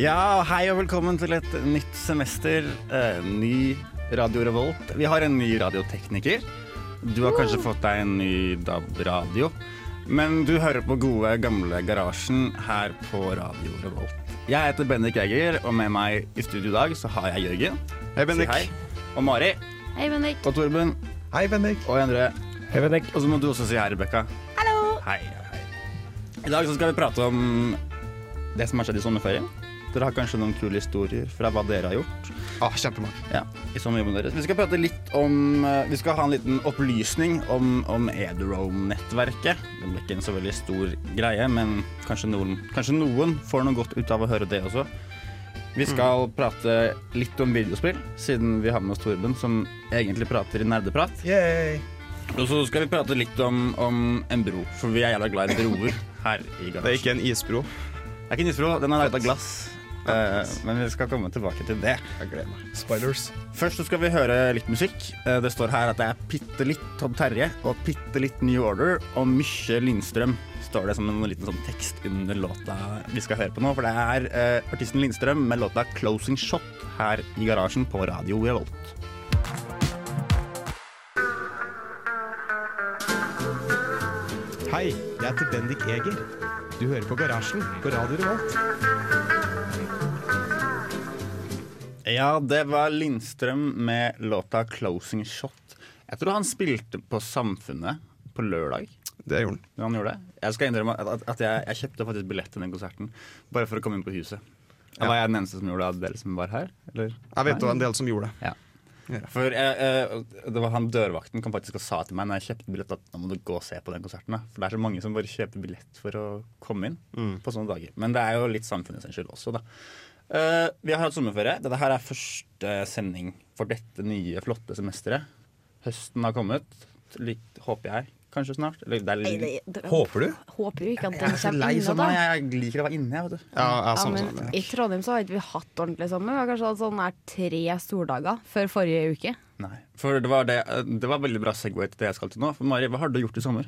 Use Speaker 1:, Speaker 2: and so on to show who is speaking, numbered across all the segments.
Speaker 1: Ja, hei og velkommen til et nytt semester. Eh, ny Radio Revolt. Vi har en ny radiotekniker. Du har kanskje fått deg en ny DAB-radio. Men du hører på gode, gamle Garasjen her på Radio Revolt. Jeg heter Bendik Jæger, og med meg i studio i dag så har jeg Jørgen.
Speaker 2: Hei, Bendik.
Speaker 1: Si hei. Og Mari.
Speaker 3: Hei, Bendik.
Speaker 1: Og Torben.
Speaker 2: Hei, Bendik.
Speaker 1: Og Endre.
Speaker 2: Hei, Bendik.
Speaker 1: Og så må du også si hei, Rebekka.
Speaker 3: Hallo.
Speaker 1: Hei, hei. I dag så skal vi prate om det som har skjedd i sommerferien. Dere har kanskje noen kule historier fra hva dere har gjort
Speaker 2: Ah, Kjempemange.
Speaker 1: ja, i sommerjobben deres. Vi skal prate litt om eh, Vi skal ha en liten opplysning om, om Eduroam-nettverket. Det blir ikke en så veldig stor greie, men kanskje noen, kanskje noen får noe godt ut av å høre det også. Vi skal prate litt om videospill, siden vi har med oss Torben, som egentlig prater i nerdeprat.
Speaker 2: Yay.
Speaker 1: Og så skal vi prate litt om, om en bro, for vi er jævla glad i broer her i garasjen.
Speaker 2: Det er ikke en isbro.
Speaker 1: Det er ikke en isbro, den er laget av glass. Eh, men vi skal komme tilbake til det.
Speaker 2: Jeg gleder meg. Spiders.
Speaker 1: Først så skal vi høre litt musikk. Eh, det står her at det er bitte litt Todd Terje og bitte litt New Order og mye Lindstrøm. Står det som en liten sånn tekst under låta vi skal høre på nå. For det er eh, artisten Lindstrøm med låta 'Closing Shot' her i garasjen på Radio Revolt.
Speaker 4: Hei, jeg heter Bendik Eger. Du hører på Garasjen på Radio Revolt.
Speaker 1: Ja, det var Lindstrøm med låta 'Closing Shot'. Jeg tror han spilte på Samfunnet på lørdag.
Speaker 2: Det gjorde den.
Speaker 1: Når han gjorde det Jeg skal innrømme at, at- at jeg, jeg kjøpte faktisk billett til den konserten bare for å komme inn på huset.
Speaker 2: Ja.
Speaker 1: Var jeg den eneste som gjorde det av dere som var her? Eller?
Speaker 2: Jeg vet det
Speaker 1: Nei.
Speaker 2: var en del som gjorde det.
Speaker 1: Ja. For jeg, eh, det var han dørvakten kom faktisk og sa til meg når jeg kjøpte billett at nå må du gå og se på den konserten. Da. For det er så mange som bare kjøper billett for å komme inn på sånne dager. Men det er jo litt samfunnet sin skyld også, da. Eh, vi har hatt sommerferie. Dette her er første sending for dette nye, flotte semesteret. Høsten har kommet. Litt, håper jeg. Kanskje snart. Eller det er
Speaker 3: Nei,
Speaker 1: litt
Speaker 3: det- det-
Speaker 2: Håper du?
Speaker 3: Håper jo ikke at
Speaker 1: jeg er altså. så
Speaker 3: den kommer
Speaker 1: lei
Speaker 3: ennå,
Speaker 1: sommeren.
Speaker 3: da.
Speaker 1: Jeg liker å være inne. Jeg, vet du.
Speaker 2: Ja, jeg
Speaker 3: Ja,
Speaker 2: samme
Speaker 3: men
Speaker 2: som det.
Speaker 3: I Trondheim så har ikke vi hatt ordentlig sommer. Vi har kanskje hatt sånn her tre stordager før forrige uke.
Speaker 1: Nei, for det var, det, det var veldig bra segway til det jeg skal til nå. For Mari, hva har du gjort i sommer?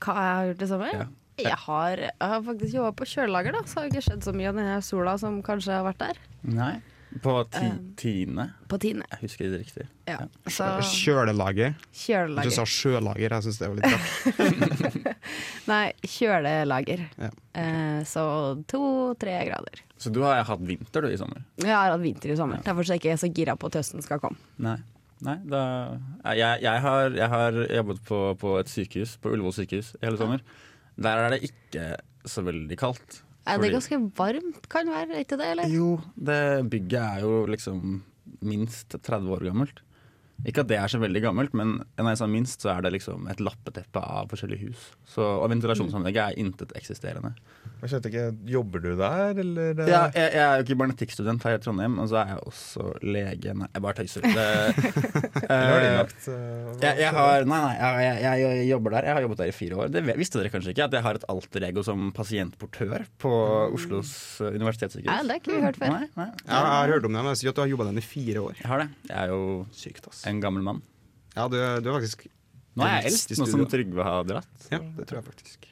Speaker 3: Hva jeg har gjort i sommer?
Speaker 1: Ja.
Speaker 3: Jeg, har, jeg har faktisk jobba på kjølelager, da, så har det ikke skjedd så mye av denne sola som kanskje har vært der.
Speaker 1: Nei. På ti,
Speaker 3: Eh.
Speaker 1: tiende.
Speaker 3: På tiende.
Speaker 1: Jeg husker det riktig.
Speaker 3: Ja.
Speaker 2: Ah.
Speaker 3: Så
Speaker 2: Kjølelager. Du
Speaker 3: kjølelager.
Speaker 2: sa sjølager. Jeg syns det var litt rart.
Speaker 3: Nei, kjølelager.
Speaker 2: Ja.
Speaker 3: Eh, så to-tre grader.
Speaker 1: Så du har hatt vinter du i sommer?
Speaker 3: Jeg har hatt vinter i sommer, derfor så er jeg ikke så gira på at høsten skal komme.
Speaker 1: Nei. Nei, da, jeg, jeg, har, jeg har jobbet på, på et sykehus, på Ullevål sykehus, i hele sommer. Der er det ikke så veldig kaldt.
Speaker 3: Er det
Speaker 1: fordi-
Speaker 3: ganske varmt, kan være, er ikke det? Eller?
Speaker 1: Jo, det bygget er jo liksom minst 30 år gammelt. Ikke at det er så veldig gammelt, men når jeg sa minst, så er det liksom et lappeteppe av forskjellige hus. Så, og ventilasjonsanlegget er intet eksisterende.
Speaker 5: Jeg skjønte ikke, Jobber du der, eller? eh?
Speaker 1: Ja, jeg, jeg er jo ikke barnetikkstudent her i Trondheim, og så er jeg også lege. Nei, jeg bare tøyser. Det,
Speaker 5: Eller har de
Speaker 1: Eh,
Speaker 5: lagt eh, hva
Speaker 1: jeg, jeg
Speaker 5: skjer?
Speaker 1: har, nei, nei, jeg, jeg, jeg, jeg jobber der. Jeg har jobbet der i fire år. Det ve- visste dere kanskje ikke, at jeg har et alter ego som pasientportør på Oslos eh, universitetssykehus.
Speaker 3: Ja, det har ikke vi hørt før.
Speaker 1: Mm. Nei, nei.
Speaker 2: Ja, jeg har hørt om det, men jeg synes at du har jobba den i fire år.
Speaker 1: Jeg har det. Jeg er jo
Speaker 2: Sykt, ass.
Speaker 1: en gammel mann.
Speaker 2: Ja, du, du er faktisk
Speaker 1: Nå er jeg
Speaker 2: eldst
Speaker 1: eldst,
Speaker 2: i
Speaker 1: nå som
Speaker 2: studio.
Speaker 1: Trygve har dratt.
Speaker 2: Ja, det tror jeg faktisk.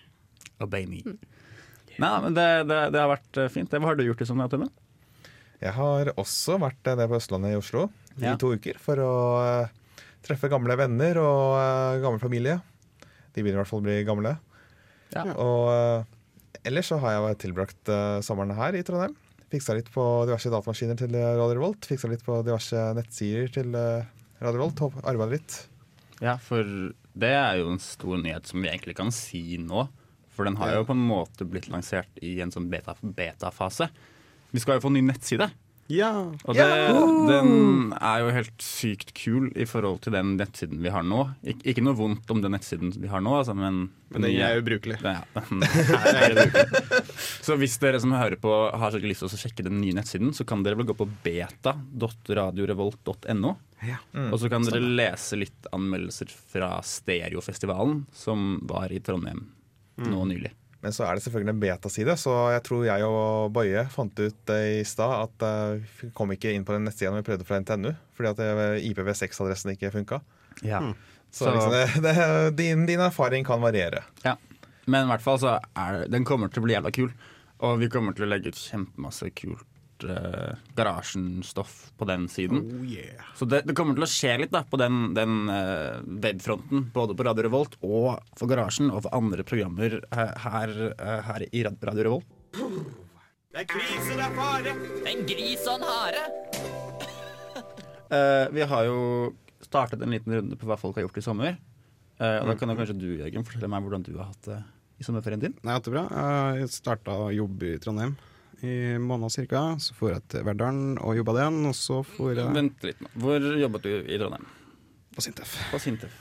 Speaker 1: Obey me. Nei, men det, det, det har vært eh, fint. Det, Hva har du gjort i sommer, Tømmen?
Speaker 5: Jeg har også vært eh, nede på Østlandet i Oslo
Speaker 1: Ja.
Speaker 5: i to uker for å eh, treffe gamle venner og eh, gammel familie. De begynner i hvert fall å bli gamle.
Speaker 1: Ja.
Speaker 5: Og eh, ellers så har jeg tilbrakt eh, sommeren her i Trondheim. Fiksa litt på diverse datamaskiner til eh, Radio Revolt. Fiksa litt på diverse nettsider til eh, Radio Revolt. Håper- Arbeidet litt.
Speaker 1: Ja, for det er jo en stor nyhet som vi egentlig kan si nå. For den har jo på en måte blitt lansert i en sånn beta- beta-fase. vi skal jo få en ny nettside.
Speaker 2: Ja.
Speaker 1: Og det, den er jo helt sykt kul i forhold til den nettsiden vi har nå. Ik ikke noe vondt om den nettsiden vi har nå, altså, men,
Speaker 2: Men den er ubrukelig.
Speaker 1: Ja, den er ubrukelig. så hvis dere som hører på har skikkelig lyst til å sjekke den nye nettsiden, så kan dere vel gå på beta.radiorevolt.no.
Speaker 2: Ja.
Speaker 1: Og så kan dere lese litt anmeldelser fra Stereofestivalen, som var i Trondheim
Speaker 5: Mm.
Speaker 1: nå nylig.
Speaker 5: Men så er det selvfølgelig en betaside, så jeg tror jeg og Boje fant ut eh, i stad at eh, vi kom ikke inn på den nettsida når vi prøvde fra NTNU, fordi at eh, IPv6-adressen ikke funka.
Speaker 1: Ja.
Speaker 5: Så, liksom, det, det, din, din erfaring kan variere.
Speaker 1: Ja. Men i hvert fall så er det- den kommer til å bli jævla kul. Og vi kommer til å legge ut kjempemasse kult eh, garasjenstoff på den siden.
Speaker 2: Oh yeah.
Speaker 1: Så det, det kommer til å skje litt da på den, den eh, webfronten, både på Radio Revolt og for Garasjen, og for andre programmer eh, her, eh, her i Rad- Radio Revolt.
Speaker 6: En gris og en hare.
Speaker 1: Eh, vi har jo startet en liten runde på hva folk har gjort i sommer. Eh, og da kan jo kanskje du, Jørgen, fortelle meg hvordan du har hatt det i sommerferien din.
Speaker 2: Nei, hatt det bra. Jeg starta å jobbe i Trondheim i måned cirka. Så for jeg til Verdalen og jobba den, og så for jeg
Speaker 1: Vent litt nå. Hvor jobbet du i Trondheim?
Speaker 2: på Sintef.
Speaker 1: På Sintef.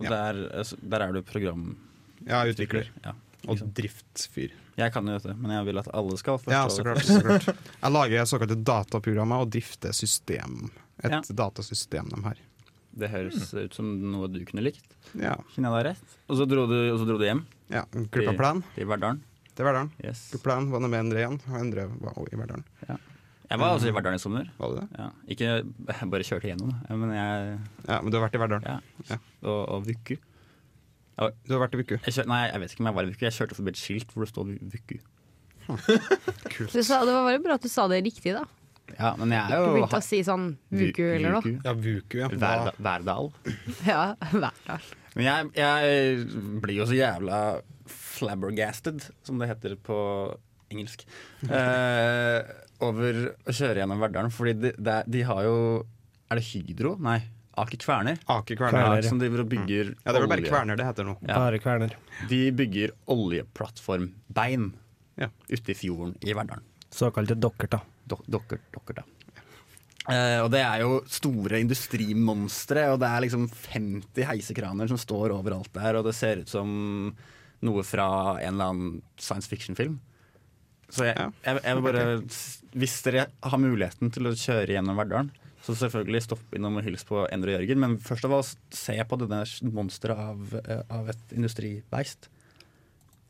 Speaker 1: Og
Speaker 2: Ja.
Speaker 1: der, altså, der er du programutvikler.
Speaker 2: Ja, utvikler.
Speaker 1: Ja.
Speaker 2: Og driftsfyr.
Speaker 1: Jeg kan jo dette, men jeg vil at alle skal forstå
Speaker 2: Ja, så
Speaker 1: det.
Speaker 2: klart. Så klart. Jeg lager såkalte dataprogrammer og drifter system. Et
Speaker 1: Ja.
Speaker 2: datasystem de har.
Speaker 1: Det høres ut som noe du kunne likt.
Speaker 2: Ja.
Speaker 1: Kjenner jeg deg rett? Og så dro du, og så dro du hjem
Speaker 2: ja. Klippa plan
Speaker 1: til Verdalen.
Speaker 2: til Verdalen.
Speaker 1: Yes.
Speaker 2: Klippa plan var nå med Endre igjen, og Endre var også i Verdalen.
Speaker 1: Jeg var altså i Verdalen i sommer.
Speaker 2: Var du det?
Speaker 1: Ja. Ikke jeg bare kjørte gjennom, da. men jeg
Speaker 2: Ja, men du har vært i Verdalen.
Speaker 1: Ja.
Speaker 2: Ja.
Speaker 1: Og, og Vuku.
Speaker 2: Du har vært i Vuku.
Speaker 1: Jeg kjør, nei, jeg vet ikke om jeg var i Vuku. Jeg kjørte forbi et skilt hvor det står Vuku.
Speaker 3: Du sa, det var veldig bra at du sa det riktig, da.
Speaker 1: Ja, men jeg
Speaker 3: Ikke
Speaker 1: er jo
Speaker 3: begynte å si sånn Vuku eller noe.
Speaker 1: Vuku.
Speaker 2: Ja, Vuku, ja.
Speaker 1: Verda- Verdal.
Speaker 3: Ja, Verdal.
Speaker 1: Men jeg, jeg blir jo så jævla flabbergasted, som det heter på engelsk, eh, over å kjøre gjennom Verdalen. Fordi de, de, de har jo Er det Hydro? Nei, Aker Kværner.
Speaker 2: Aker Kverner.
Speaker 1: Som driver og bygger
Speaker 2: Mm. Ja, det er vel bare
Speaker 1: olje.
Speaker 2: Kverner det heter nå.
Speaker 1: Ja.
Speaker 7: Bare kverner.
Speaker 1: De bygger oljeplattformbein
Speaker 2: Ja.
Speaker 1: ute i fjorden i Verdalen.
Speaker 7: Såkalte dokker, da.
Speaker 1: Dok dokker, dokker, da. Eh, og det er jo store industrimonstre, og det er liksom 50 heisekraner som står overalt der, og det ser ut som noe fra en eller annen science fiction-film. Så jeg,
Speaker 2: Ja.
Speaker 1: jeg, jeg vil bare Hvis dere har muligheten til å kjøre gjennom Verdalen, så selvfølgelig stopp innom og hils på Endre og Jørgen, men først av alt se på det der monsteret av, eh, av et industribeist.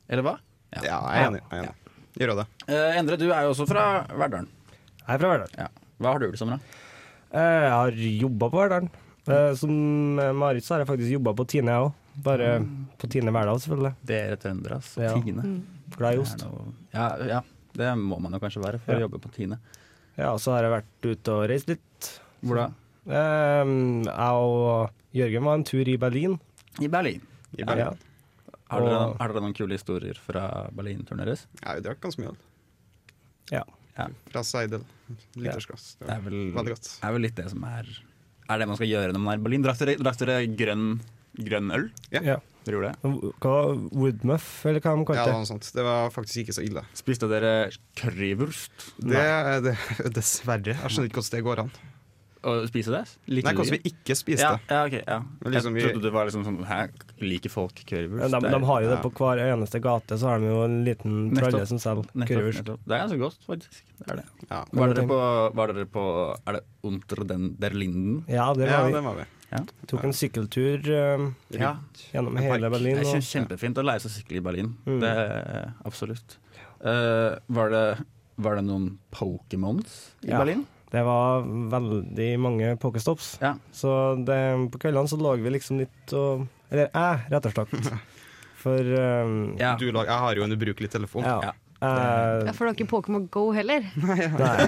Speaker 1: Eller hva?
Speaker 2: Ja, jeg er enig. Jeg er enig. Gjør jo det.
Speaker 1: Eh, Endre, du er jo også fra Verdalen.
Speaker 7: Jeg er fra Verdal.
Speaker 1: Ja. Hva har du gjort i sommer, da?
Speaker 7: Eh, Jeg har jobba på Verdalen. Eh, Som eh, Marit så har jeg faktisk jobba på Tine, jeg òg. Bare
Speaker 1: Mm.
Speaker 7: på Tine Verdal, selvfølgelig.
Speaker 1: Dere trøndere, altså.
Speaker 7: Ja.
Speaker 1: Tine.
Speaker 7: Glad i
Speaker 1: Det
Speaker 7: ost.
Speaker 1: er noe- Ja, ja, det må man jo kanskje være for
Speaker 7: Ja.
Speaker 1: å jobbe på Tine.
Speaker 7: Ja, og så har jeg vært ute og reist litt.
Speaker 1: Hvor da?
Speaker 7: Eh, Jeg og Jørgen var en tur i Berlin.
Speaker 1: I Berlin.
Speaker 7: Ja.
Speaker 1: Har dere,
Speaker 7: Og-
Speaker 1: har dere noen kule historier fra Berlin-turen deres?
Speaker 2: Jeg har jo drukket ganske mye øl.
Speaker 7: Ja.
Speaker 2: Fra Seidel. Litersglass.
Speaker 1: Det er vel,
Speaker 2: Veldig godt.
Speaker 1: er vel litt det som er Er det man skal gjøre når man er i Berlin. Drakk dere, drakk dere grønn, grønn øl?
Speaker 2: Ja.
Speaker 7: ja.
Speaker 1: Dere gjorde det.
Speaker 7: Hva var Woodmuff, eller hva de
Speaker 2: Ja, det
Speaker 7: kalte
Speaker 2: var
Speaker 7: det?
Speaker 2: noe sånt. Det var faktisk ikke så ille.
Speaker 1: Spiste dere currywurst?
Speaker 2: Det, det, dessverre. Jeg skjønner ikke hvordan det går an.
Speaker 1: Og spise det?
Speaker 2: Nei, hvordan vi ikke spiste.
Speaker 1: ja, ja, ok, ja.
Speaker 2: Men liksom
Speaker 1: Jeg
Speaker 2: vi-
Speaker 1: trodde det var liksom sånn Hæ, liker folk currywurst?
Speaker 7: Men De,
Speaker 1: Det er-
Speaker 7: de har jo det
Speaker 2: ja.
Speaker 7: på hver eneste gate, så har de jo en liten
Speaker 1: Nettopp.
Speaker 7: tralle som selger
Speaker 1: Nettopp,
Speaker 7: kurvurst.
Speaker 1: nettopp. Det er ganske godt, faktisk. Det er det.
Speaker 2: Ja.
Speaker 1: Var dere, på, var dere på Er det Unter den der Linden?
Speaker 7: Ja, det
Speaker 2: Ja,
Speaker 7: var
Speaker 2: det
Speaker 7: vi.
Speaker 2: var vi.
Speaker 7: Tok en sykkeltur eh,
Speaker 1: Ja.
Speaker 7: gjennom
Speaker 2: En
Speaker 7: hele
Speaker 2: park.
Speaker 7: Berlin.
Speaker 1: Jeg
Speaker 7: Og,
Speaker 1: synes kjempefint å lære seg å sykle i Berlin.
Speaker 7: Mm.
Speaker 1: Det er Absolutt. Eh, var, det, var det noen Pokémons i
Speaker 7: Ja.
Speaker 1: Berlin?
Speaker 7: Det var veldig mange pokestops.
Speaker 1: Ja.
Speaker 7: Så det, på kveldene så lå vi liksom litt og Eller jeg, rett og slett. For eh,
Speaker 1: Ja.
Speaker 2: Du lag, jeg har jo en ubrukelig telefon.
Speaker 7: ja.
Speaker 1: Ja.
Speaker 7: Eh,
Speaker 3: Ja, for det var ikke Pokémon Go heller.
Speaker 7: nei.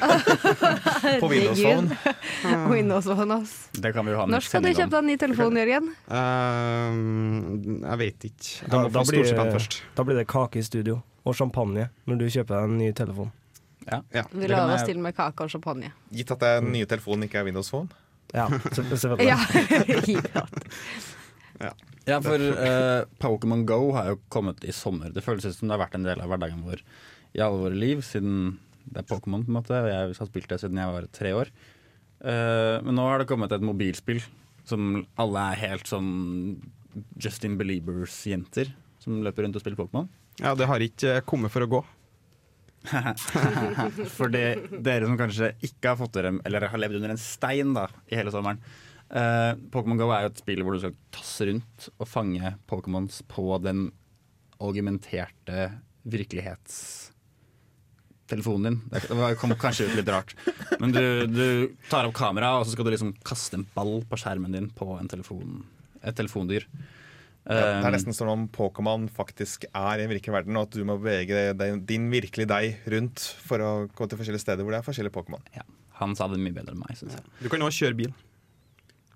Speaker 5: På Windows Phone.
Speaker 3: Windows Phone, ass.
Speaker 1: Det kan vi jo ha
Speaker 3: Når skal du kjøpe deg en ny telefon, Jørgen?
Speaker 2: Ehm, jeg vet ikke. Jeg
Speaker 7: Da-
Speaker 2: må
Speaker 7: da
Speaker 2: få
Speaker 7: blir-
Speaker 2: storstipend først.
Speaker 7: Da blir det kake i studio og champagne når du kjøper deg en ny telefon.
Speaker 3: Vi
Speaker 1: Det kan
Speaker 3: lover
Speaker 1: jeg-
Speaker 3: oss til med kake og champagne.
Speaker 5: Gitt at den nye telefonen ikke er Windows Phone.
Speaker 7: Ja, selv- selvfølgelig.
Speaker 3: Ja. Idiot.
Speaker 1: Ja, for eh, Pokémon Go har jo kommet i sommer. Det føles ut som det har vært en del av hverdagen vår i alle våre liv siden Det er Pokémon, på en måte. og Jeg har spilt det siden jeg var tre år. Eh, men nå har det kommet et mobilspill som alle er helt sånn Justin Beliebers-jenter som løper rundt og spiller Pokémon.
Speaker 2: Ja, det har ikke eh, kommet for å gå.
Speaker 1: For det, dere som kanskje ikke har fått dere Eller har levd under en stein da i hele sommeren. Eh, Pokémon GO er jo et spill hvor du skal tasse rundt og fange Pokémons på den argumenterte virkelighetstelefonen din. Det var- kom kanskje ut litt rart. Men du, du tar opp kameraet, og så skal du liksom kaste en ball på skjermen din på en telefon, et telefondyr.
Speaker 5: Ja, Det
Speaker 1: Eh,
Speaker 5: er nesten som om Pokémon faktisk er i den virkelige verden, og at du må bevege deg- deg- din virkelige deg rundt for å gå til forskjellige steder hvor det er forskjellige Pokémon.
Speaker 1: ja, han sa det mye bedre enn meg, syns jeg.
Speaker 2: Du kan òg kjøre bil.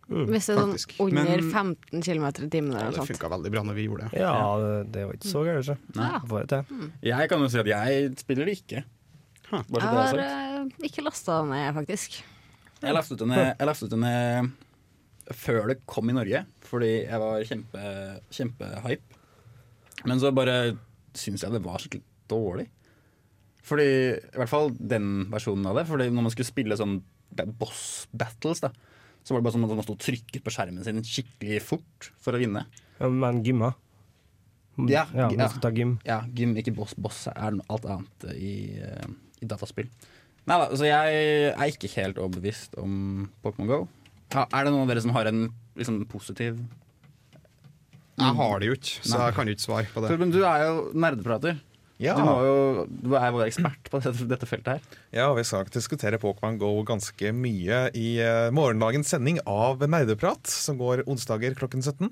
Speaker 7: Mm.
Speaker 3: Hvis det er sånn
Speaker 2: Faktisk.
Speaker 3: under
Speaker 2: Men-
Speaker 3: 15 km i timen
Speaker 2: Ja,
Speaker 3: eller
Speaker 2: det
Speaker 3: noe sånt.
Speaker 2: funka veldig bra når vi gjorde det.
Speaker 7: Ja, det- det var ikke så gærent, så.
Speaker 1: Nei.
Speaker 7: Får det til.
Speaker 1: Jeg kan jo si at jeg spiller det ikke.
Speaker 2: Huh.
Speaker 1: Bare så
Speaker 3: Jeg
Speaker 1: det er
Speaker 3: har
Speaker 1: sagt.
Speaker 3: eh, ikke lasta den ned, faktisk.
Speaker 1: Jeg lastet den ned, jeg lastet den ned før det kom i Norge, fordi jeg var kjempe, kjempehype. Men så bare syns jeg det var skikkelig dårlig. Fordi, I hvert fall den versjonen av det. Fordi når man skulle spille sånn ba- boss battles, da, så var det bare sånn at man sto og trykket på skjermen sin skikkelig fort for å vinne.
Speaker 7: Ja, Men gymma.
Speaker 1: Ja,
Speaker 7: Mm,
Speaker 1: ja.
Speaker 7: ja, man skal ta gym.
Speaker 1: Ja, gym, ikke boss. Boss er noe alt annet i, eh, i dataspill. Nei da, så jeg er ikke helt overbevist om Pokémon GO. Ha- Er det noen av dere som har en liksom, positiv
Speaker 2: Jeg har det jo ikke, så jeg kan jo ikke svare på det.
Speaker 1: Torben, du er jo nerdeprater.
Speaker 5: Ja,
Speaker 1: Du, må jo, du er vår ekspert på dette, dette feltet her.
Speaker 5: ja og vi skal diskutere Pokémon GO ganske mye i eh, morgendagens sending av Nerdeprat, som går onsdager klokken 17.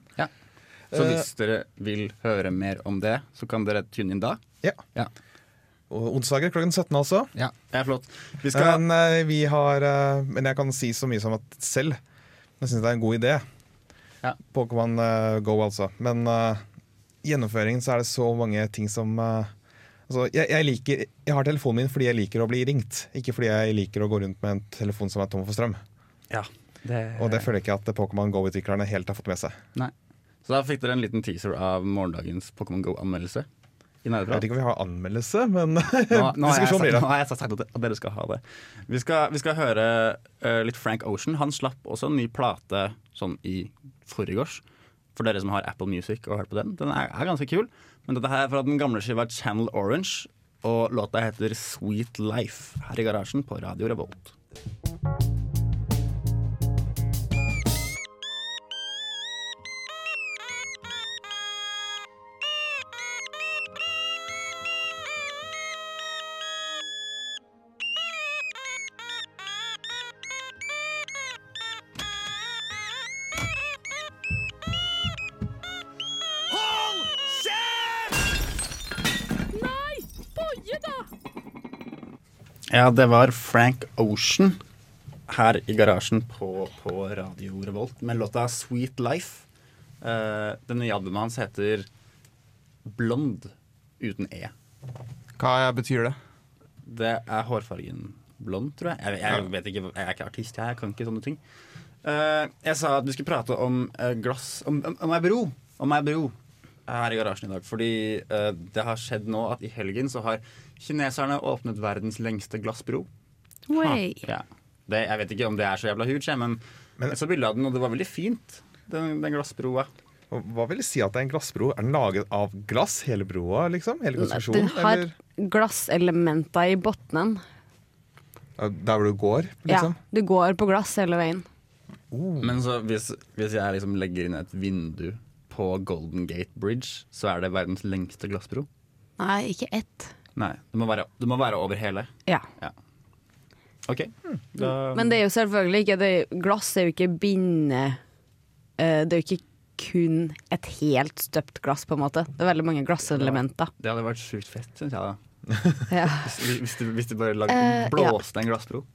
Speaker 1: Så
Speaker 5: Eh,
Speaker 1: hvis dere vil høre mer om det, så kan dere tune inn da.
Speaker 5: Ja,
Speaker 1: Ja,
Speaker 5: og onsdager klokken 17 altså.
Speaker 1: Det er flott. Vi skal
Speaker 5: Men, eh, vi har, eh, men jeg kan si så mye som at selv jeg syns det er en god idé.
Speaker 1: Ja.
Speaker 5: Pokémon eh, Go, altså. Men eh, gjennomføringen så er det så mange ting som eh, altså, jeg, jeg, liker, jeg har telefonen min fordi jeg liker å bli ringt, ikke fordi jeg liker å gå rundt med en telefon som er tom for strøm.
Speaker 1: ja, det-
Speaker 5: Og det føler jeg ikke at Pokémon Go-utviklerne helt har fått med seg.
Speaker 1: Nei. Så da fikk dere en liten teaser av morgendagens Pokémon GO-anmeldelse. I
Speaker 5: Jeg vet
Speaker 1: nerdeprat.
Speaker 5: ikke om vi har anmeldelse, men
Speaker 1: Nå, nå, har jeg
Speaker 5: diskusjon
Speaker 1: sagt,
Speaker 5: blir det.
Speaker 1: nå har jeg sagt at at dere skal ha det. Vi skal, vi skal høre eh, litt Frank Ocean. Han slapp også en ny plate sånn i forgårs. For dere som har Apple Music og har hørt på den. Den er, er ganske kul. Men dette her er fra den gamle skiva Channel Orange. Og låta heter Sweet Life her i garasjen på Radio Revolt. Ja, det var Frank Ocean her i garasjen på, på Radio Revolt med låta Sweet Life. Eh, det nye albumet hans heter Blond uten E.
Speaker 2: Hva betyr det?
Speaker 1: Det er hårfargen blond, tror jeg. Jeg, jeg vet ikke, jeg er ikke artist, jeg, jeg kan ikke sånne ting. Eh, jeg sa at vi skulle prate om eh, glass Om, om, om ei bro! Om ei bro her i garasjen i dag. Fordi eh, det har skjedd nå at i helgen så har kineserne åpnet verdens lengste glassbro.
Speaker 3: Way.
Speaker 1: Ja. Det, jeg vet ikke om det er så jævla huge, jeg, men,
Speaker 5: Men-
Speaker 1: jeg så bilde av den, og det var veldig fint. Den, den glassbroa.
Speaker 5: Og Hva vil det si at det er en glassbro? Er den laget av glass, hele broa, liksom? Hele
Speaker 3: Den
Speaker 5: konstruksjonen?
Speaker 3: har
Speaker 5: Eller
Speaker 3: glasselementer i bunnen.
Speaker 5: Ja, der hvor du går,
Speaker 3: Ja,
Speaker 5: liksom?
Speaker 3: du går på glass hele veien.
Speaker 1: Men så hvis, hvis jeg liksom legger inn et vindu på Golden Gate Bridge, så er det verdens lengste glassbro.
Speaker 3: Nei, ikke ett.
Speaker 1: Nei, det må være, det må være over hele.
Speaker 3: Ja.
Speaker 1: Ja. Ok. Da,
Speaker 3: Men det er jo selvfølgelig ikke det, Glass er jo ikke binde eh, Det er jo ikke kun et helt støpt glass, på en måte. Det er veldig mange glasselementer.
Speaker 1: det hadde vært sjukt fett, syns jeg. da
Speaker 3: Ja.
Speaker 1: Hvis, hvis, du, hvis du bare lagde,
Speaker 3: Eh, ja.
Speaker 1: blåste en glassbro.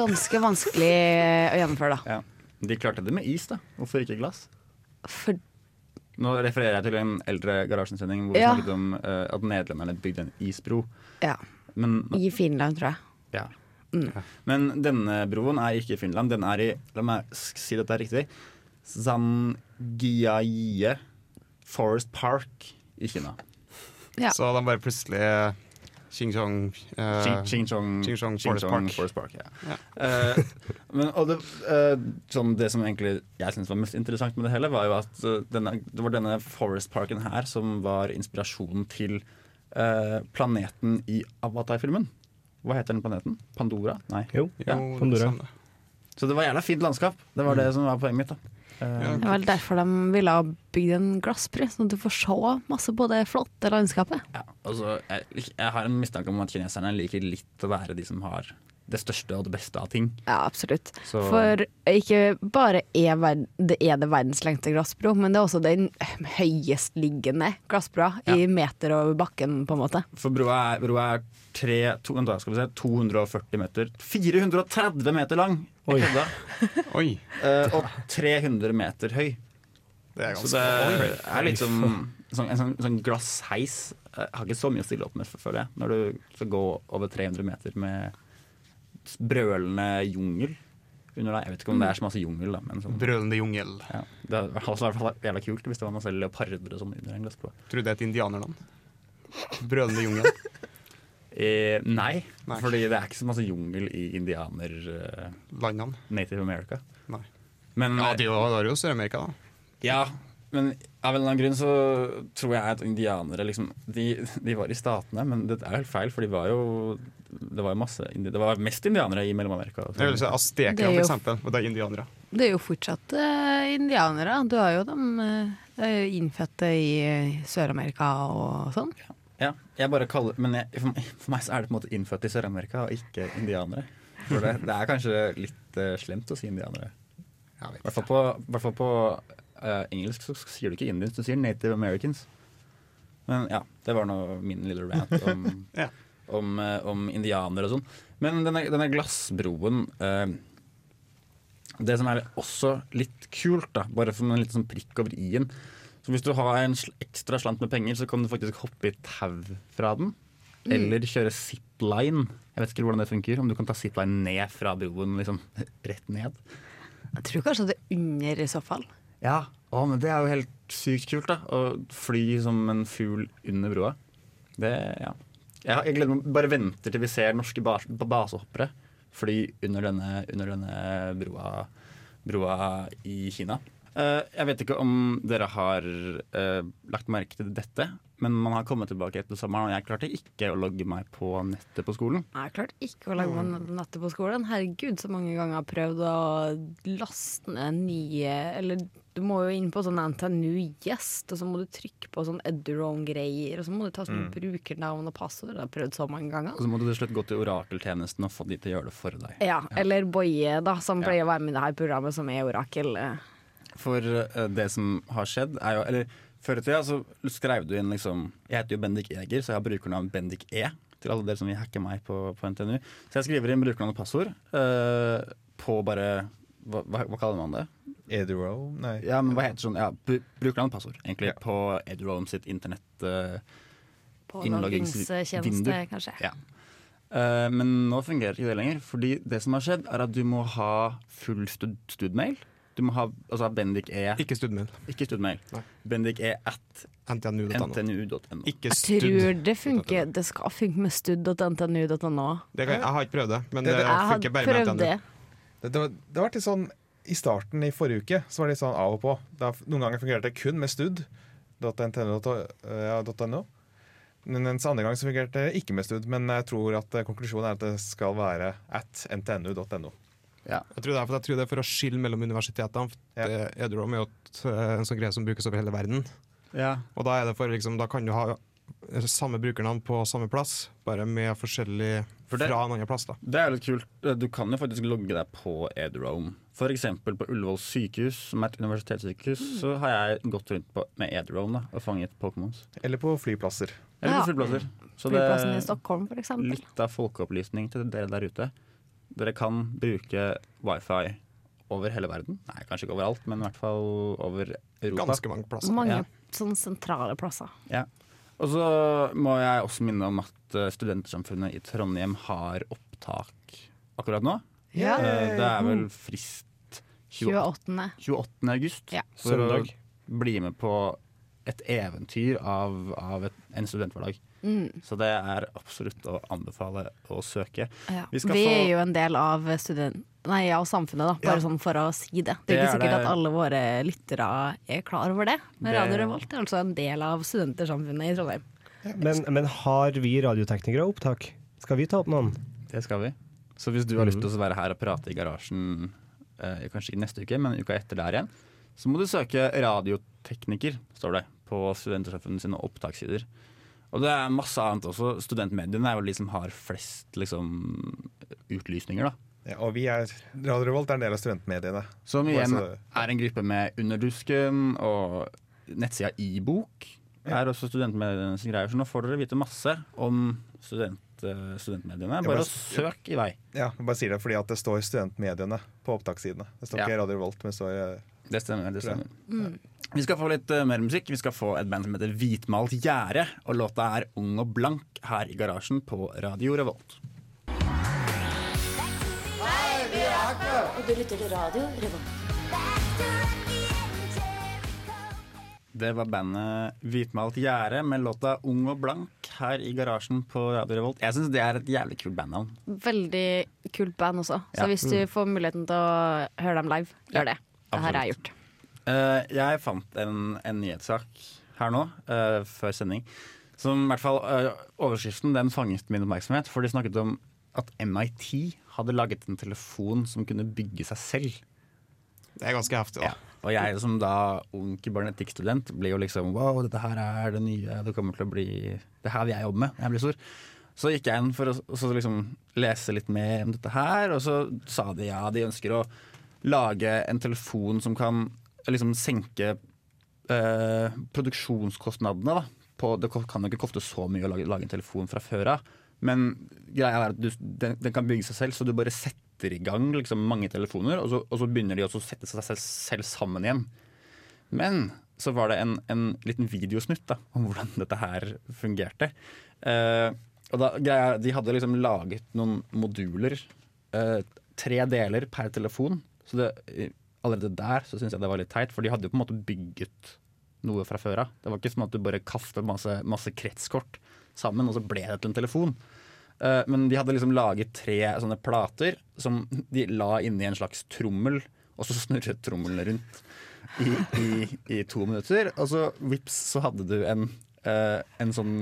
Speaker 3: Ganske vanskelig eh, å gjennomføre, da.
Speaker 1: Ja. De klarte det med is, da. Hvorfor ikke glass?
Speaker 3: For
Speaker 1: Nå refererer jeg til en eldre garasjesending hvor vi
Speaker 3: Ja.
Speaker 1: snakket om eh, at nederlenderne bygde en isbro.
Speaker 3: ja,
Speaker 1: Men, men,
Speaker 3: i Finland, tror jeg.
Speaker 1: ja. men denne broen er ikke i Finland. Den er i La meg s- si dette er riktig. Zangiaie Forest Park i Kina.
Speaker 3: Ja.
Speaker 8: Så de bare plutselig
Speaker 4: eh, Ching Chong eh,
Speaker 1: Ching- Ching Chong
Speaker 4: Ching Chong
Speaker 1: Ching
Speaker 4: Forest
Speaker 1: Chong
Speaker 4: Park.
Speaker 1: Forest Park ja.
Speaker 4: Ja.
Speaker 1: Eh, men, og det, eh, sånn, det som egentlig jeg syns var mest interessant med det hele, var jo at eh, denne, det var denne Forest Parken her som var inspirasjonen til eh, planeten i Avatar-filmen. Hva heter den planeten? Pandora? Nei.
Speaker 7: Jo.
Speaker 4: Jo,
Speaker 1: Ja.
Speaker 4: det
Speaker 7: Pandora.
Speaker 4: samme.
Speaker 1: Så det var jævla fint landskap. Det var det som var poenget mitt. da Eh,
Speaker 4: Ja.
Speaker 3: Det er vel derfor de ville ha bygd en glassbru, sånn at du får se masse på det flotte landskapet.
Speaker 1: ja, altså, jeg, jeg har en mistanke om at kineserne liker litt å være de som har det største og det beste av ting.
Speaker 3: Ja, absolutt.
Speaker 1: Så-
Speaker 3: For ikke bare er verd det er det verdens lengste glassbro, men det er også den høyestliggende glassbroa i meter over bakken, på en måte.
Speaker 1: For broa er, broa er tre, to, vent da, skal vi se, 240 meter 430 meter lang!
Speaker 7: Oi.
Speaker 1: Jeg kødda.
Speaker 4: Oi.
Speaker 1: Eh, og 300 meter høy.
Speaker 4: Det er
Speaker 1: Så
Speaker 4: ganske
Speaker 1: det er litt som sånn, en sånn, sånn glassheis. Jeg har ikke så mye å stille opp med, føler jeg, når du skal gå over 300 meter med brølende jungel under deg. Jeg vet ikke om det er så masse jungel, da, men sånn.
Speaker 4: Brølende jungel.
Speaker 1: Ja. Det hadde vært altså, i hvert fall jævla kult hvis det var masse leoparder og sånn under en glassblå.
Speaker 4: Tror du det er et indianerland? Brølende jungel.
Speaker 1: Eh, nei,
Speaker 4: Nei.
Speaker 1: fordi det er ikke så masse jungel i indianer eh,
Speaker 4: Landene.
Speaker 1: Native America.
Speaker 4: Nei.
Speaker 1: Men,
Speaker 4: Ja, det er jo- det er jo Sør-Amerika, da.
Speaker 1: ja, men av en eller annen grunn så tror jeg at indianere liksom De, de var i statene, men det er helt feil, for de var jo Det var jo masse indi- Det var mest indianere i Mellom-Amerika.
Speaker 4: Det er vel så
Speaker 3: Det
Speaker 4: Aztekerne,
Speaker 3: er jo-
Speaker 4: for eksempel. Og det er indianere.
Speaker 3: Det er jo fortsatt eh, indianere. Du har jo de eh, innfødte i eh, Sør-Amerika og sånn.
Speaker 1: Ja, jeg bare kaller Men jeg, for, meg, for meg så er det på en måte innfødt i Sør-Amerika, og ikke indianere. For det, det er kanskje litt eh, slemt å si indianere.
Speaker 4: Jeg vet
Speaker 1: I hvert fall på, i hvert fall på eh, engelsk så sier du ikke indians, du sier native americans. Men ja, det var nå min lille rant om,
Speaker 4: Ja.
Speaker 1: om, eh, om indianere og sånn. Men denne, denne glassbroen eh, Det som er også litt kult, da, bare som en liten sånn prikk over i-en Så hvis du har en sl ekstra slant med penger, så kan du faktisk hoppe i tau fra den. Eller kjøre zipline. Jeg vet ikke hvordan det funker. Om du kan ta zipline ned fra broen, liksom rett ned.
Speaker 3: Jeg tror kanskje det er under i så fall.
Speaker 1: Ja, å, men det er jo helt sykt kult da Å fly som en fugl under broa Det, ja Jeg, jeg gleder meg, bare venter til vi ser norske bas basehoppere Fly under denne, under denne broa, broa i Kina Eh, Jeg vet ikke om dere har eh, lagt merke til dette Men man har kommet tilbake etter sommeren Og jeg klarte ikke å logge meg på nettet på skolen
Speaker 3: Jeg klarte ikke å lage meg nettet på skolen. Herregud, så mange ganger jeg har prøvd å laste ned nye Eller du må jo inn på sånn NTNU Gjest, og så må du trykke på sånn Eduron-greier, og så må du ta sånn brukernavn og passord. Jeg har prøvd så mange ganger.
Speaker 1: Og så må du til slutt gå til orakeltjenesten Og få de til å gjøre det for deg
Speaker 3: Ja, eller Boje, da, som
Speaker 1: Ja.
Speaker 3: pleier å være med i det her programmet, som er Orakel. eh.
Speaker 1: For eh, det som har skjedd er jo Eller før i tida så skrev du inn liksom Jeg heter jo Bendik Eger, så jeg har brukernavn Bendik E. Til alle dere som vil hacke meg på, på NTNU. Så jeg skriver inn brukernavn og passord eh, på bare hva, hva, hva kaller man det?
Speaker 5: Edro? Nei.
Speaker 1: Ja, men hva heter sånn Ja, bru- brukernavn og passord, egentlig,
Speaker 5: Ja.
Speaker 1: på Edrom sitt internett... eh,
Speaker 3: Påloggingstjeneste,
Speaker 1: Innloggings-
Speaker 3: kanskje.
Speaker 1: ja. Eh, men nå fungerer ikke det lenger. Fordi det som har skjedd, er at du må ha full stud studmail. Du må ha altså ha Bendik E.
Speaker 4: Ikke studmail.
Speaker 1: Ikke studmail.
Speaker 4: Nei.
Speaker 1: Bendik E at
Speaker 4: NTNU.no.
Speaker 1: ntnu.no.
Speaker 4: Ikke
Speaker 3: Jeg
Speaker 4: stud.
Speaker 3: tror det funker. Det skal funke med stud.ntnu.no.
Speaker 4: Det kan, jeg har ikke prøvd det, men
Speaker 5: Det-
Speaker 4: det,
Speaker 5: det-
Speaker 3: Jeg har
Speaker 4: funker bare med
Speaker 3: prøvd det.
Speaker 4: NTNU.
Speaker 5: Det, det, var, det var litt sånn I starten i forrige uke så var det litt sånn av og på. Da, noen ganger fungerte det kun med stud. .ntno.no. Men Mens andre gang så fungerte det ikke med stud. Men jeg tror at eh, konklusjonen er at det skal være at ntnu.no.
Speaker 1: Ja.
Speaker 4: Jeg tror, det er, for jeg tror det er for å skille mellom universitetene.
Speaker 5: Ja.
Speaker 4: Ja. Edrom er jo et, eh, en sånn greie som brukes over hele verden.
Speaker 1: Ja.
Speaker 4: Og da, er det for, liksom, da kan du ha samme brukernavn på samme plass, bare med forskjellig
Speaker 1: For det-
Speaker 4: fra en annen plass. da.
Speaker 1: Det er jo litt kult. Du kan jo faktisk logge deg på Edrome. For eksempel på Ullevål sykehus, som er et universitetssykehus,
Speaker 3: Mm.
Speaker 1: så har jeg gått rundt på, med Edrome da, og fanget Pokémons.
Speaker 5: Eller på flyplasser.
Speaker 1: Eller
Speaker 3: Ja.
Speaker 1: på fullplasser. Så det
Speaker 3: Flyplassen i Stockholm, for eksempel.
Speaker 1: litt av folkeopplysning til dere der ute. Dere kan bruke wifi over hele verden. Nei, kanskje ikke overalt, men i hvert fall over Europa.
Speaker 4: Ganske mange plasser.
Speaker 3: Mange
Speaker 1: Ja.
Speaker 3: sånne sentrale plasser.
Speaker 1: Ja. Og så må jeg også minne om at eh, Studentersamfunnet i Trondheim har opptak akkurat nå.
Speaker 3: Ja. Mm.
Speaker 1: Eh, Det er vel frist 28.
Speaker 3: 28.
Speaker 1: 28. august
Speaker 3: Ja.
Speaker 1: for
Speaker 7: Søndag.
Speaker 1: å bli med på et eventyr av, av et, en studenthverdag.
Speaker 3: Mm.
Speaker 1: Så det er absolutt å anbefale å søke. Vi
Speaker 3: Ja. Vi,
Speaker 1: skal
Speaker 3: er
Speaker 1: få-
Speaker 3: jo en del av student... Nei, av samfunnet, da. Bare sånn for å si det.
Speaker 1: Det
Speaker 3: Det er ikke
Speaker 1: er
Speaker 3: sikkert
Speaker 1: det.
Speaker 3: at alle våre lyttere er klar over det. Men
Speaker 1: Det-
Speaker 3: Radio Revolt er altså en del av studentersamfunnet i Trondheim.
Speaker 7: Men, men har vi radioteknikere opptak? Skal vi ta opp noen?
Speaker 1: Det skal vi. Mm. Så hvis du har lyst til å være her og prate i garasjen eh, kanskje i neste uke, men uka etter der igjen, så må du søke radiotekniker, står det, på Studentersamfunnet sine opptakssider. Og det er masse annet også. Studentmediene er jo de som har flest liksom, utlysninger, da.
Speaker 5: Ja, og vi er Radio Revolt er en del av studentmediene.
Speaker 1: Som
Speaker 5: Bare
Speaker 1: igjen
Speaker 5: så det-
Speaker 1: er en gruppe med Underdusken og nettsida iBok. Er også studentmedienes greier, så nå får dere vite masse om student, eh, studentmediene.
Speaker 5: bare
Speaker 1: Bare
Speaker 5: s-
Speaker 1: søk i vei.
Speaker 5: Ja, jeg bare sier det fordi at det står studentmediene på opptakssidene. Det står
Speaker 1: Ja.
Speaker 5: ikke Radio Revolt, men det står eh,
Speaker 1: Det stemmer. det
Speaker 5: Tror jeg.
Speaker 1: stemmer. Vi skal få litt eh, mer musikk. Vi skal få et band som heter Hvitmalt gjerde. Og låta er Ung og blank her i garasjen på Radio Revolt.
Speaker 8: Og du lytter til radio Revolt.
Speaker 1: Det var bandet Hvitmalt gjerde med låta Ung og blank her i garasjen på Radio Revolt. Jeg syns det er et jævlig kult bandnavn.
Speaker 3: Veldig kult band også. Så
Speaker 1: Ja. Mm.
Speaker 3: hvis du får muligheten til å høre dem live, gjør det. Det her er gjort.
Speaker 1: Eh, jeg fant en, en nyhetssak her nå, eh, før sending, som i hvert fall eh, Overskriften den fanget min oppmerksomhet, for de snakket om at MIT hadde laget en telefon som kunne bygge seg selv.
Speaker 4: Det er ganske heftig. da.
Speaker 1: Og jeg som da ung kybernetikkstudent blir jo liksom Wow, dette her er det nye, det kommer til å bli Det her vil jeg jobbe med når jeg blir stor. Så gikk jeg inn for å og så liksom lese litt mer om dette her, og så sa de ja, de ønsker å lage en telefon som kan liksom senke eh, produksjonskostnadene. da på, Det kan jo ikke koste så mye å lage, lage en telefon fra før av. Men greia er at du, den, den kan bygge seg selv, så du bare setter i gang liksom, mange telefoner. Og så, og så begynner de også å sette seg selv, selv sammen igjen. Men så var det en, en liten videosnutt da, om hvordan dette her fungerte. Eh, og da, greia, er at de hadde liksom laget noen moduler. eh, tre deler per telefon. Så det, allerede der så syns jeg det var litt teit, for de hadde jo på en måte bygget noe fra før av. Det var ikke sånn at du bare kastet masse, masse kretskort sammen, og så ble det til en telefon. Eh, Men de hadde liksom laget tre sånne plater som de la inni en slags trommel, og så snurret trommelen rundt i, i, i to minutter. Og så vips, så hadde du en, eh, en sånn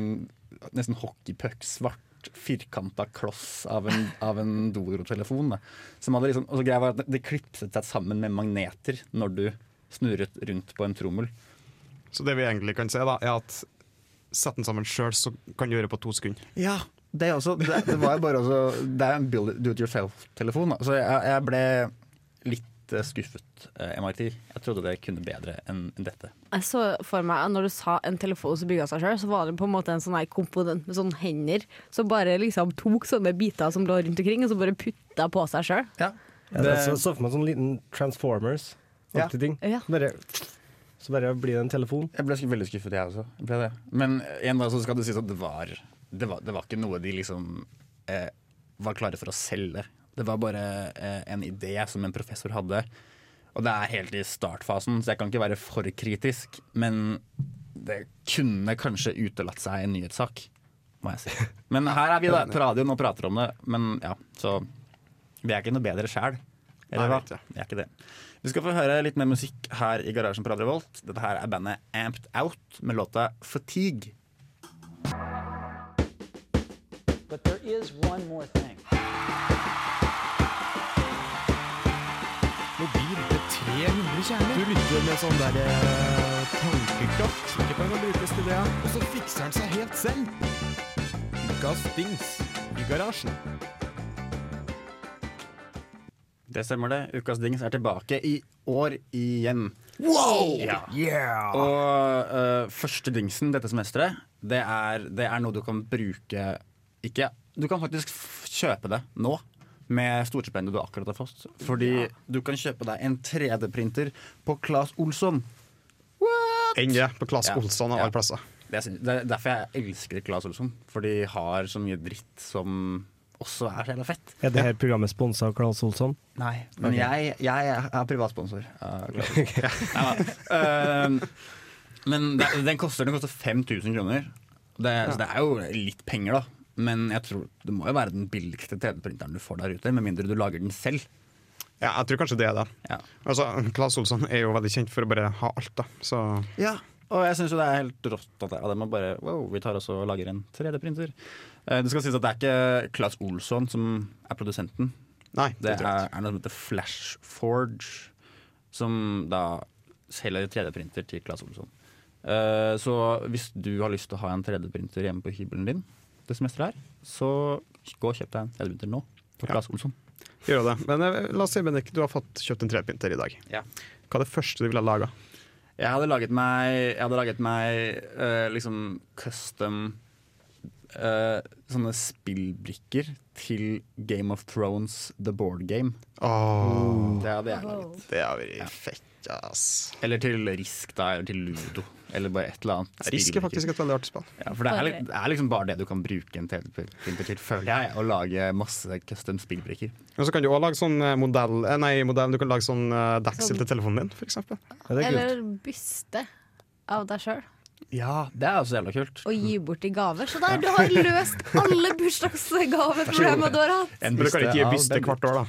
Speaker 1: nesten hockeypuck, svart, firkanta kloss av en, av en Doro-telefon. da. Som hadde liksom, og så greia var at det klipset seg sammen med magneter når du snurret rundt på en trommel.
Speaker 4: Så det vi egentlig kan si, da, er at sett den sammen sjøl, så kan du gjøre det på to sekunder.
Speaker 1: Ja, det er også Det, det var jo bare også, Det er en build it, do it yourself-telefon. da. Så jeg, jeg ble litt eh, skuffet, eh, MIT. Jeg trodde det kunne bedre enn enn dette.
Speaker 3: Jeg så for meg at Når du sa en telefon som bygga seg sjøl, så var det på en måte en sånn her komponent med sånne hender som bare liksom tok sånne biter som lå rundt omkring, og så bare putta på seg sjøl.
Speaker 1: Ja,
Speaker 7: Ja,
Speaker 1: det,
Speaker 7: så, så for meg sånn liten Transformers.
Speaker 1: Ja.
Speaker 7: Ja. Ting.
Speaker 3: Ja.
Speaker 7: Bare, så bare blir det en telefon.
Speaker 1: jeg ble sk- veldig skuffet, jeg også. Jeg ble det. Men igjen da, så skal det sies at det var, det var Det var ikke noe de liksom eh, var klare for å selge. Det var bare eh, en idé som en professor hadde. Og det er helt i startfasen, så jeg kan ikke være for kritisk. Men det kunne kanskje utelatt seg en nyhetssak, må jeg si. Men her er vi da på radioen og prater om det. Men ja, så Vi er ikke noe bedre sjæl. Eller
Speaker 4: Nei,
Speaker 1: hva?
Speaker 4: vet jeg.
Speaker 1: Vi er ikke det. Vi skal få høre litt mer musikk her i garasjen på Radio Revolt. Dette her er bandet Amped Out med låta 'Fatigue'.
Speaker 9: But there is one more thing.
Speaker 4: sånn eh, Og så fikser han seg helt selv! Ukas dings i garasjen.
Speaker 1: Det stemmer det. Ukas Dings er tilbake i år igjen. Ja. Og eh, første dingsen dette semesteret, det er, det er noe du kan bruke Ikke Du kan faktisk f kjøpe det nå. Med storstipendet du akkurat har fått. Fordi du kan kjøpe deg en 3D-printer på Claes Olsson.
Speaker 4: Enn det, på Klass
Speaker 1: Ja.
Speaker 4: Olsson av
Speaker 1: Ja.
Speaker 4: alle plasser.
Speaker 1: Det er, synd. det er derfor jeg elsker Claes Olsson. For de har så mye dritt som også er så jævla fett.
Speaker 7: Er det her programmet sponsa av Claes Olsson?
Speaker 1: Nei, men jeg, jeg er privatsponsor. av Glass. Ehm, Neida. Eh, men det- den koster, den koster 5000 kroner. Det, så det er jo litt penger, da. Men jeg tror det må jo være den billigste 3D-printeren du får der ute, med mindre du lager den selv.
Speaker 2: Ja, jeg tror kanskje det er det.
Speaker 1: Ja.
Speaker 2: Altså, Claes Olsson er jo veldig kjent for å bare ha alt, da. Så
Speaker 1: Og jeg syns jo det er helt rått at det- at man bare Wow, vi tar også og lager en 3D-printer. Eh, Det skal sies at det er ikke Claes Olsson som er produsenten.
Speaker 2: nei.
Speaker 1: Det
Speaker 2: tror jeg
Speaker 1: er, er noe som heter Flash Forge, som da selger 3D-printer til Claes Olsson. Eh, Så hvis du har lyst til å ha en 3D-printer hjemme på hybelen din det semesteret her, så gå og kjøp deg en 3D-printer nå. På Claes Olsson.
Speaker 2: ikke. Gjør jo det. Men eh, la oss si, Bendik, du har fått kjøpt en 3D-printer i dag.
Speaker 1: Ja.
Speaker 2: Hva er det første du ville ha laga?
Speaker 1: Jeg hadde laget meg, jeg hadde laget meg eh, liksom custom eh, sånne spillbrikker til Game of Thrones The Board Game. Det hadde jeg laget.
Speaker 2: Det har vært fett, ass.
Speaker 1: Eller til Risk, da, eller til Ludo. Eller bare et eller annet.
Speaker 2: Risk er
Speaker 1: spillbrikker.
Speaker 2: faktisk et veldig artig spill.
Speaker 1: ja, For det er, det er liksom bare det du kan bruke en TV-printer til, føler jeg. Å lage masse custom spillbrikker.
Speaker 2: Og så kan du òg lage sånn eh, modell eh, Nei, modell, du kan lage sånn eh, deksel til telefonen din, for eksempel.
Speaker 7: Ja, det er kult.
Speaker 3: Eller byste av deg sjøl
Speaker 1: Ja, det er også jævla kult.
Speaker 3: og
Speaker 2: Mm.
Speaker 3: gi bort i gaver. Så der, du har løst alle bursdagsgaveproblemer du har hatt!
Speaker 1: En
Speaker 2: Men du kan ikke gi
Speaker 1: av
Speaker 2: byste
Speaker 1: Bendik.
Speaker 2: hvert år, da.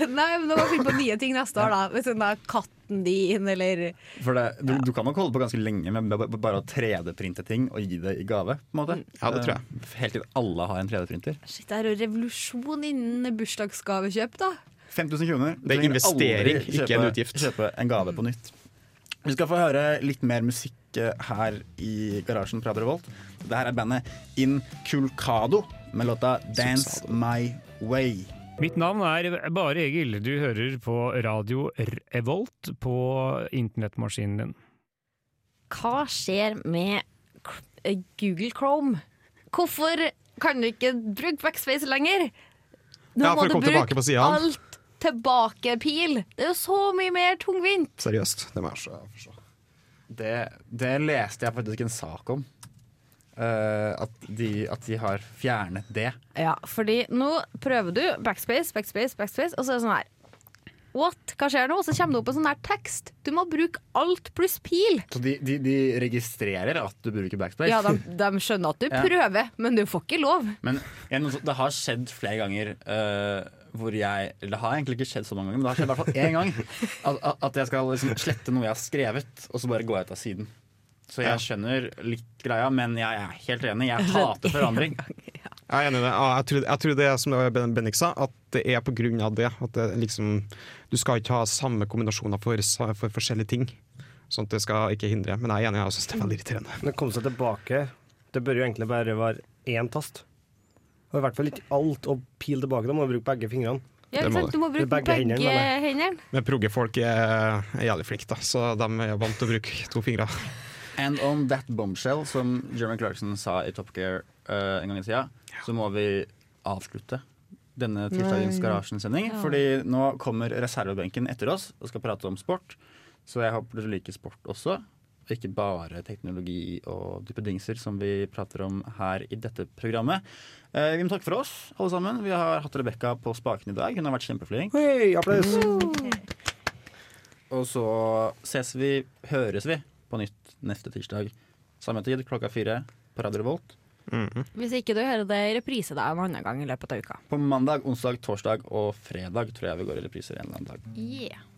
Speaker 3: Nei, men nå må vi finne på nye ting neste år, da. Hvis den der katten din, eller
Speaker 1: For det, du, du kan nok holde på ganske lenge med med bare å 3D-printe ting og gi det i gave. på en måte.
Speaker 2: Ja, det tror jeg.
Speaker 1: Eh, Helt til alle har en 3D-printer.
Speaker 3: Shit, det er jo revolusjon innen bursdagsgavekjøp, da.
Speaker 1: 5000 kroner. Du
Speaker 2: Det er
Speaker 1: trenger
Speaker 2: investering,
Speaker 1: aldri
Speaker 2: ikke en utgift.
Speaker 1: Kjøpe en gave på nytt. Vi skal få høre litt mer musikk eh, her i garasjen fra Revolt. Det her er bandet Inculcado med låta 'Dance My Way'.
Speaker 10: Mitt navn er Bare Egil. Du hører på radio Revolt på internettmaskinen din.
Speaker 3: Hva skjer med k- eh, Google Chrome? Hvorfor kan du ikke bruke backspace lenger? Nå
Speaker 2: Ja, for
Speaker 3: må
Speaker 2: å
Speaker 3: du
Speaker 2: komme tilbake på siden.
Speaker 3: alt tilbake-pil. Det er jo så mye mer tungvint.
Speaker 2: Seriøst. Det må jeg også forstå.
Speaker 1: Det, det leste jeg faktisk en sak om. Eh, at, de, at de har fjernet det.
Speaker 3: Ja, fordi nå prøver du backspace, backspace, backspace, og så er det sånn her. What? Hva skjer nå? Og så kommer det opp en sånn her tekst. Du må bruke alt pluss pil.
Speaker 1: Så de, de, de registrerer at du bruker backspace.
Speaker 3: Ja, de, de skjønner at du
Speaker 1: Ja.
Speaker 3: prøver, men du får ikke lov.
Speaker 1: Men jeg, det har skjedd flere ganger eh, hvor jeg eller Det har egentlig ikke skjedd så mange ganger, men det har skjedd i hvert fall én gang. At, at- at jeg skal liksom slette noe jeg har skrevet, og så bare gå ut av siden. Så jeg skjønner litt greia, men jeg er helt enig. Jeg hater forandring.
Speaker 2: Jeg er enig i det. Ja, Jeg tror, jeg tror det er som det var Ben- Bendik sa, at det er på grunn av det. At det liksom, du skal ikke ha samme kombinasjoner for, sa- for forskjellige ting. Sånn at det skal ikke hindre. Men jeg er enig, jeg synes det er veldig irriterende.
Speaker 7: Men å komme seg tilbake Det bør jo egentlig bare være én tast. Og i hvert fall ikke alt og pil tilbake. Da må du bruke begge fingrene.
Speaker 3: Ja,
Speaker 2: Det
Speaker 3: ikke
Speaker 2: må
Speaker 3: sant?
Speaker 2: du.
Speaker 3: Du må
Speaker 7: Det er
Speaker 3: bruke
Speaker 7: begge
Speaker 3: begge,
Speaker 7: hendene, mener
Speaker 3: hendene.
Speaker 2: Men proggefolk er, er jævlig flinke, da, så de er vant til å bruke to fingre.
Speaker 1: And on that bombshell, som Jeremy Clarkson sa i Top Gear eh, en gang i tida, så må vi avslutte denne tirsdagens Garasjen-sending. Fordi nå kommer reservebenken etter oss og skal prate om sport. Så jeg håper du liker sport også. Og ikke bare teknologi og duppedingser som vi prater om her i dette programmet. Eh, vi må takke for oss, alle sammen. Vi har hatt Rebekka på spaken i dag. Hun har vært kjempeflink.
Speaker 7: Hei, applaus!
Speaker 1: Og så ses vi, høres vi, på nytt neste tirsdag. Samme tid, klokka fire på Radio Revolt.
Speaker 3: Hvis ikke du hører det i reprise da en annen gang i løpet av uka.
Speaker 1: På mandag, onsdag, torsdag og fredag tror jeg vi går i repriser en eller annen dag.
Speaker 3: Yeah.